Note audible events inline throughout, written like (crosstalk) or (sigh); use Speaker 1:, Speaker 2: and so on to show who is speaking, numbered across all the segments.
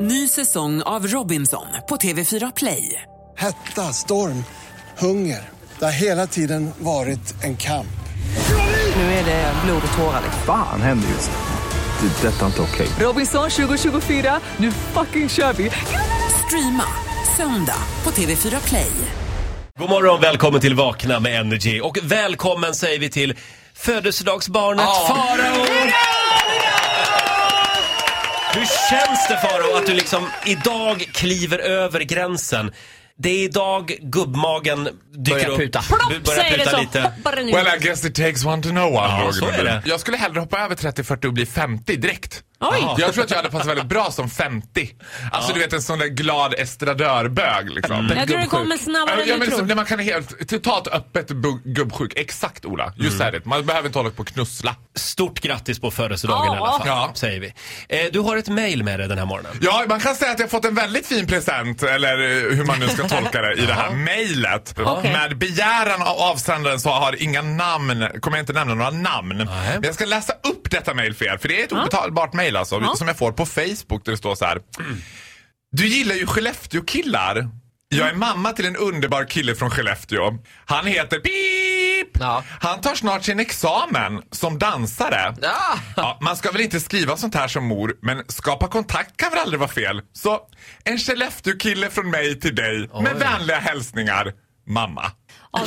Speaker 1: Ny säsong av Robinson på TV4 Play.
Speaker 2: Hetta, storm, hunger. Det har hela tiden varit en kamp.
Speaker 1: Nu är det blod och tårar.
Speaker 3: Fan händer just nu. Det. är Detta är inte okej.
Speaker 1: Robinson 2024, nu fucking kör vi! Streama söndag på TV4 Play.
Speaker 4: God morgon, välkommen till Vakna med Energy. Och välkommen säger vi till födelsedagsbarnet Farao! Hur känns det Farao att du liksom idag kliver över gränsen? Det är idag gubbmagen dyker
Speaker 5: Börjar
Speaker 4: upp.
Speaker 5: puta.
Speaker 4: Plopp, börjar
Speaker 6: säger det
Speaker 4: puta
Speaker 6: så.
Speaker 4: lite.
Speaker 6: Hoppar den ut.
Speaker 7: Well I guess it takes one to know one.
Speaker 4: Ja,
Speaker 7: Roger
Speaker 4: så är
Speaker 7: Nordin.
Speaker 4: det.
Speaker 7: Jag skulle hellre hoppa över 30-40 och bli 50 direkt.
Speaker 4: Oj.
Speaker 7: Jag tror att jag hade passat väldigt bra som 50. Alltså du vet en sån där glad estradörbög liksom.
Speaker 6: Mm. Jag tror det kommer snabbare
Speaker 7: Ja,
Speaker 6: än du
Speaker 7: men liksom,
Speaker 6: tror.
Speaker 7: när man kan helt, totalt öppet bu- gubbsjuk. Exakt Ola, just mm. det. Man behöver inte hålla på och knussla.
Speaker 4: Stort grattis på födelsedagen i alla
Speaker 6: Ja.
Speaker 4: fall,
Speaker 7: Ja.
Speaker 4: säger vi. Eh, du har ett mail med dig den här morgonen.
Speaker 7: Ja, man kan säga att jag fått en väldigt fin present, eller eh, hur man nu ska tolka det, i det här mejlet.
Speaker 6: Okej.
Speaker 7: Med begäran av avsändaren så har inga namn, kommer jag inte nämna några namn. Men jag ska läsa upp detta mejl för er, för det är ett obetalbart mejl alltså, som jag får på Facebook där det står så här. Du gillar ju Skellefteå-killar. Jag är mamma till en underbar kille från Skellefteå. Han heter Pip!
Speaker 5: Ja.
Speaker 7: Han tar snart sin examen som dansare.
Speaker 5: Ah!
Speaker 7: Ja, man ska väl inte skriva sånt här som mor, men skapa kontakt kan väl aldrig vara fel? Så en Skellefteå-kille från mig till dig med vänliga hälsningar, mamma.
Speaker 6: Ja,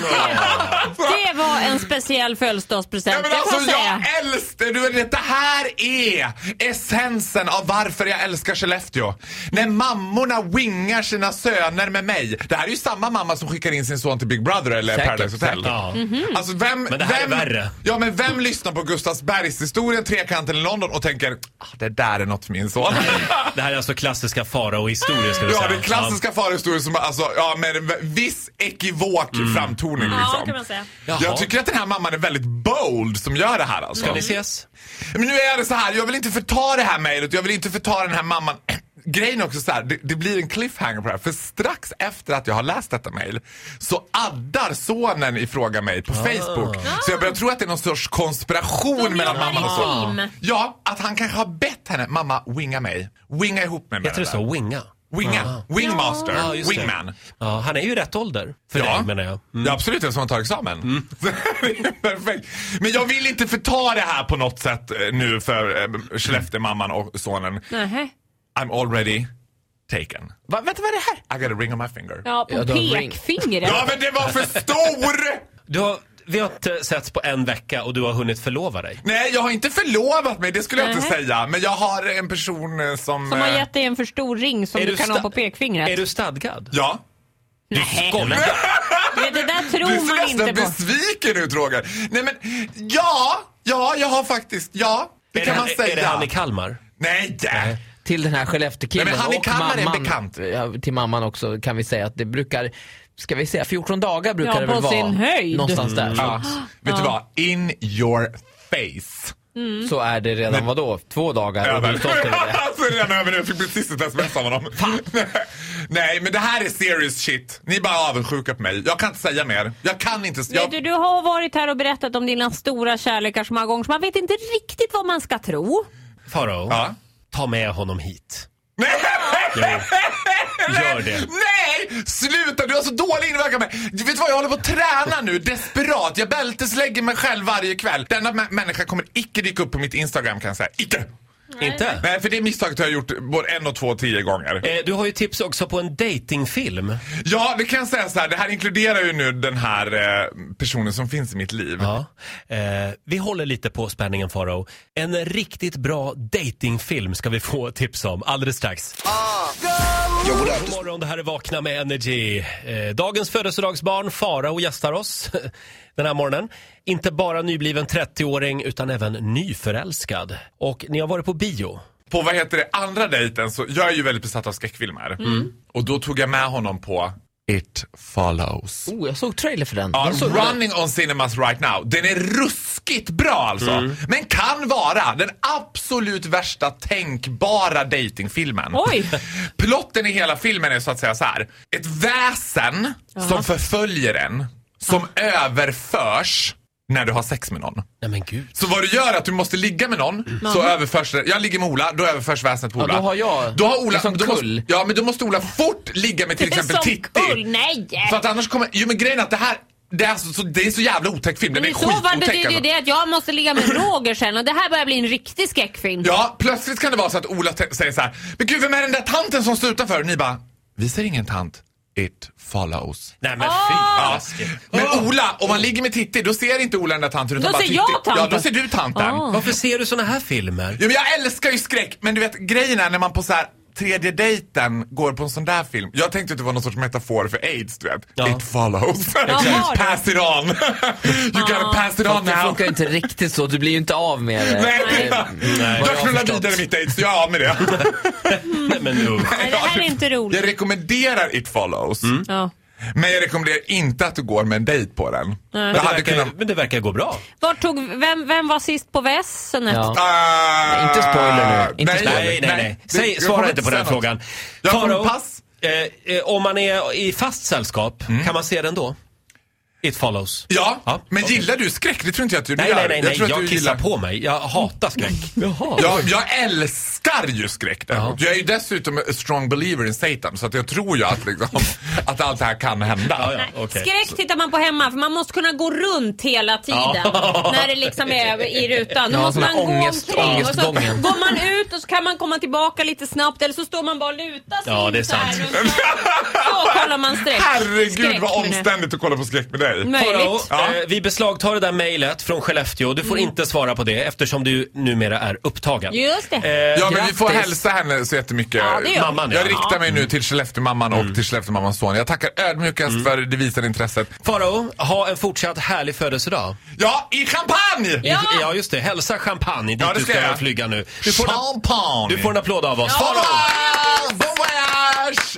Speaker 6: det, det var en speciell
Speaker 7: Ja,
Speaker 6: födelsedagspresent,
Speaker 7: men
Speaker 6: det får
Speaker 7: alltså,
Speaker 6: jag säga.
Speaker 7: jag älskar du, vet, Det här är essensen av varför jag älskar Skellefteå. När mammorna wingar sina söner med mig. Det här är ju samma mamma som skickar in sin son till Big Brother eller
Speaker 5: Säkert,
Speaker 7: Paradise Hotel.
Speaker 4: säkert. Ja.
Speaker 6: Mm.
Speaker 7: Alltså, vem,
Speaker 4: Men det här är
Speaker 7: vem,
Speaker 4: värre.
Speaker 7: Ja, men vem lyssnar på Gustavsbergshistorien, Trekanten i London och tänker ah, det där är något för min son.
Speaker 4: Det här är alltså klassiska Farao-historier skulle jag
Speaker 7: (laughs) Ja,
Speaker 4: säga.
Speaker 7: det är klassiska förhistorien som alltså, ja, med en viss ekivok framtoning. Liksom.
Speaker 6: Ja, kan man säga.
Speaker 4: Mm. Jaha.
Speaker 7: Jag tycker att den här mamman är väldigt bold som gör det här. Alltså.
Speaker 4: Ja. Ska ni ses?
Speaker 7: Men nu är det så här, jag vill inte förta det här mejlet, jag vill inte förta den här mamman. (clears throat) Grejen är också så här, det, det blir en cliffhanger på det här. För strax efter att jag har läst detta mejl så addar sonen i fråga mig på
Speaker 4: Ah.
Speaker 7: Facebook. Så jag börjar tro att det är någon sorts konspiration
Speaker 6: De
Speaker 7: mellan
Speaker 6: jobbar
Speaker 7: mamman och
Speaker 6: i
Speaker 7: sonen.
Speaker 6: team.
Speaker 7: Ja, att han kanske har bett henne, mamma winga mig. Winga ihop mig med
Speaker 4: Heter det
Speaker 7: den där."
Speaker 4: så? Winga?
Speaker 7: Winga. Wingmaster.
Speaker 4: Ja, just det.
Speaker 7: Wingman.
Speaker 4: Ja, han är ju i rätt ålder för
Speaker 7: Ja.
Speaker 4: dig menar jag. Mm.
Speaker 7: Ja, absolut, eftersom han tar examen. (laughs) Perfekt. Men jag vill inte förta det här på något sätt eh, nu för eh, Skellefteå-mamman och sonen.
Speaker 6: Nähä.
Speaker 7: I'm already taken. Va, vänta, vad är det här? I got a ring on my finger. Ja,
Speaker 6: Ja,
Speaker 5: Ja,
Speaker 6: på
Speaker 5: de ring-
Speaker 6: pekfingret.
Speaker 7: men det var för stor!
Speaker 4: Du har, vi har inte setts på en vecka och du har hunnit förlova dig.
Speaker 7: Nej, jag har inte förlovat mig, det skulle jag inte
Speaker 6: Nej.
Speaker 7: säga. Men jag har en person eh, som...
Speaker 6: Som har
Speaker 7: eh,
Speaker 6: gett dig en för stor ring som
Speaker 4: Är
Speaker 6: du
Speaker 4: du
Speaker 6: kan
Speaker 4: sta-
Speaker 6: ha på pekfingret.
Speaker 4: Är du stadgad?
Speaker 7: Ja.
Speaker 4: Skojar.
Speaker 6: Du vet, Det där
Speaker 7: Du
Speaker 6: tror
Speaker 7: ser
Speaker 6: man
Speaker 7: nästan
Speaker 6: inte på.
Speaker 7: besviken ut, Roger. Nej, men ja, ja, jag har faktiskt, ja. Det
Speaker 4: Är
Speaker 7: kan
Speaker 4: det,
Speaker 7: man
Speaker 4: han-
Speaker 7: säga.
Speaker 4: Är det han i Kalmar?
Speaker 7: Nej, nej.
Speaker 5: Till den här Skellefteå-killen
Speaker 7: Nej, men han i
Speaker 5: och
Speaker 7: Kalmar är en
Speaker 5: mamman,
Speaker 7: bekant.
Speaker 5: ja, till mamman också kan vi säga att det brukar, ska vi säga 14 dagar brukar
Speaker 6: Ja,
Speaker 5: det
Speaker 6: på
Speaker 5: väl vara?
Speaker 6: sin höjd.
Speaker 5: Någonstans där.
Speaker 7: Ja. Vet du vad? In your face.
Speaker 5: Så är det redan, vadå, två dagar? Och du är stolt över
Speaker 7: (laughs)
Speaker 5: det.
Speaker 7: alltså redan över nu. Jag fick precis ett sms av honom. (laughs) Nej, men det här är serious shit. Ni är bara avundsjuka på mig. Jag kan inte säga mer. Jag kan inte...
Speaker 6: Vet du,
Speaker 7: Jag...
Speaker 6: du har varit här och berättat om dina stora kärlekar så många gånger så man vet inte riktigt vad man ska tro.
Speaker 4: Farao,
Speaker 7: Ja.
Speaker 4: ta med honom hit.
Speaker 7: Nej!
Speaker 4: Gör det.
Speaker 7: Nej! Sluta! Du har så dålig inverkan på mig. Du vet vad? Jag håller på att träna nu. Desperat. Jag bälteslägger mig själv varje kväll. Denna mä- människa kommer icke dyka upp på mitt Instagram kan jag säga. Icke!
Speaker 4: Inte?
Speaker 7: Nej, för det misstaget har jag gjort både en och två och tio gånger.
Speaker 4: Eh, Du har ju tips också på en datingfilm.
Speaker 7: Ja, det kan jag säga så här. Det här inkluderar ju nu den här eh, personen som finns i mitt liv.
Speaker 4: Ja. Eh, vi håller lite på spänningen Farao. En riktigt bra datingfilm ska vi få tips om alldeles strax.
Speaker 2: Jag borde
Speaker 4: God morgon, det här är Vakna med Energy. Eh, dagens födelsedagsbarn Farao gästar oss (laughs) den här morgonen. Inte bara nybliven 30-åring utan även nyförälskad. Och ni har varit på bio.
Speaker 7: På vad heter det, andra dejten så, jag är ju väldigt besatt av skräckfilmer.
Speaker 5: Mm.
Speaker 7: Och då tog jag med honom på It follows.
Speaker 5: Oh, jag såg trailer för den.
Speaker 7: Ja,
Speaker 5: Jag såg den.
Speaker 7: running on cinemas right now. Den är ruskigt bra alltså.
Speaker 5: Mm.
Speaker 7: Men kan vara den absolut värsta tänkbara datingfilmen.
Speaker 6: (laughs) Oj.
Speaker 7: Plotten i hela filmen är så att säga så här. Ett väsen som förföljer en, som överförs när du har sex med någon.
Speaker 4: Nej men gud.
Speaker 7: Så vad du gör är att du måste ligga med någon, så
Speaker 6: Mm.
Speaker 7: överförs det. Jag ligger med Ola, då överförs väsnet på
Speaker 5: Ja,
Speaker 7: Ola.
Speaker 5: då har jag-
Speaker 7: Då har Ola,
Speaker 5: det är som
Speaker 7: då måste,
Speaker 5: kull.
Speaker 7: ja men då måste Ola fort ligga med till
Speaker 6: Det är
Speaker 7: exempel
Speaker 6: som
Speaker 7: Titti.
Speaker 6: kull, nej!
Speaker 7: För att annars kommer, jo men grejen är att det här, det är, alltså, så, det är så jävla otäckt film. Den
Speaker 6: Men
Speaker 7: är
Speaker 6: i så fall
Speaker 7: skitotäck
Speaker 6: betyder ju
Speaker 7: alltså.
Speaker 6: det att jag måste ligga med Roger sen och det här börjar bli en riktig skräckfilm.
Speaker 7: Ja, plötsligt kan det vara så att Ola te- säger så här. Men gud, vem är den där tanten som står utanför? Och ni bara, vi ser ingen tant. It follows.
Speaker 4: Nej men fy
Speaker 5: Ah.
Speaker 7: Ja.
Speaker 4: läskigt.
Speaker 7: Men Ola, om man ligger med Titti, då ser inte Ola den där tanten. Utan
Speaker 6: Då
Speaker 7: bara
Speaker 6: ser
Speaker 7: Titti.
Speaker 6: jag tanten.
Speaker 7: Ja, då ser du tanten.
Speaker 6: Ah.
Speaker 4: Varför ser du såna här filmer?
Speaker 7: Jo, men jag älskar ju skräck, men du vet grejen är när man på så här tredje dejten går på en sån där film. Jag tänkte att det var någon sorts metafor för aids, du vet.
Speaker 4: Ja.
Speaker 7: It follows. (laughs)
Speaker 6: Jaha,
Speaker 7: pass it on. (laughs) you gotta pass it on
Speaker 5: Det
Speaker 7: now.
Speaker 5: funkar ju inte riktigt så, du blir ju inte av med det.
Speaker 7: (laughs)
Speaker 5: Eh,
Speaker 7: Nej,
Speaker 5: vad jag
Speaker 7: jag
Speaker 5: har
Speaker 7: knullar
Speaker 5: förstått.
Speaker 7: vidare mitt aids, jag är av med det.
Speaker 4: Nej men nu.
Speaker 7: (laughs)
Speaker 6: Nej, det här är inte roligt.
Speaker 7: Jag rekommenderar It follows.
Speaker 4: Mm.
Speaker 6: Ja.
Speaker 7: Men jag rekommenderar inte att du går med en dejt på den. Jag
Speaker 4: Men det,
Speaker 7: hade
Speaker 4: verkar,
Speaker 7: kunnat...
Speaker 4: men det verkar gå bra.
Speaker 6: Vart tog, vem, vem var sist på vässenet?
Speaker 5: Ja.
Speaker 7: Ah,
Speaker 5: Inte spoiler nu. Inte
Speaker 7: nej,
Speaker 5: spoiler.
Speaker 4: Nej, nej, nej.
Speaker 7: Det-
Speaker 4: Säg,
Speaker 7: jag kommer
Speaker 4: svara inte på
Speaker 7: säga
Speaker 4: den
Speaker 7: något.
Speaker 4: frågan.
Speaker 7: Jag får
Speaker 4: Farao,
Speaker 7: pass. Mm.
Speaker 4: eh, eh, om man är i fast sällskap, kan man se den då? It follows.
Speaker 7: Ja,
Speaker 4: Ja,
Speaker 7: men
Speaker 4: okej.
Speaker 7: gillar du skräck? Det tror inte jag att du
Speaker 4: Nej,
Speaker 7: gör.
Speaker 4: nej, nej, nej.
Speaker 7: tror
Speaker 4: Jag,
Speaker 7: att du
Speaker 4: kissar
Speaker 7: gillar-
Speaker 4: på mig. Jag hatar
Speaker 7: (laughs)
Speaker 4: skräck.
Speaker 5: Jaha.
Speaker 7: Ja, jag älskar ju skräck däremot. Jag är ju dessutom a strong believer in Satan så att jag tror ju att, liksom, (laughs) att allt det här kan hända.
Speaker 4: Ja, ja, okej.
Speaker 6: Skräck tittar man på hemma för man måste kunna gå runt hela tiden när det liksom är i rutan. Då
Speaker 5: Ja,
Speaker 6: måste
Speaker 5: sån
Speaker 6: man
Speaker 5: här
Speaker 6: gå
Speaker 5: ångest-
Speaker 6: omkring och så
Speaker 5: ångestgången.
Speaker 6: går man ut och så kan man komma tillbaka lite snabbt eller så står man bara och lutar sig
Speaker 4: Ja,
Speaker 6: in
Speaker 4: det är
Speaker 6: så här
Speaker 4: sant.
Speaker 6: runt hörnet. Så kollar man streck.
Speaker 7: Herregud
Speaker 6: Skräck,
Speaker 7: vad
Speaker 6: menar jag.
Speaker 7: omständigt att kolla på skräck med dig.
Speaker 4: Farao,
Speaker 6: Möjligt.
Speaker 7: Ja. Mm.
Speaker 4: eh, vi beslagtar det där mejlet från Skellefteå. Du får inte svara på det eftersom du numera är upptagen.
Speaker 6: Just det.
Speaker 7: Ja, men vi
Speaker 5: grattis.
Speaker 7: får hälsa henne så jättemycket.
Speaker 6: Ja, det gör vi.
Speaker 4: Mamman, ja. Mm.
Speaker 7: jag riktar mig nu till Skellefteåmamman och till Skellefteåmammans son. Jag tackar ödmjukast för det visade intresset.
Speaker 4: Farao, ha en fortsatt härlig födelsedag.
Speaker 7: Ja, i champagne!
Speaker 6: Ja.
Speaker 4: ja just det. Hälsa champagne dit
Speaker 7: Ja, det
Speaker 4: du
Speaker 7: ska
Speaker 4: ska
Speaker 7: jag.
Speaker 4: flyga nu. Du får, en,
Speaker 7: Champagne!
Speaker 4: du får en applåd av oss.
Speaker 7: Bon
Speaker 4: Farao!
Speaker 7: voyage! Bon voyage!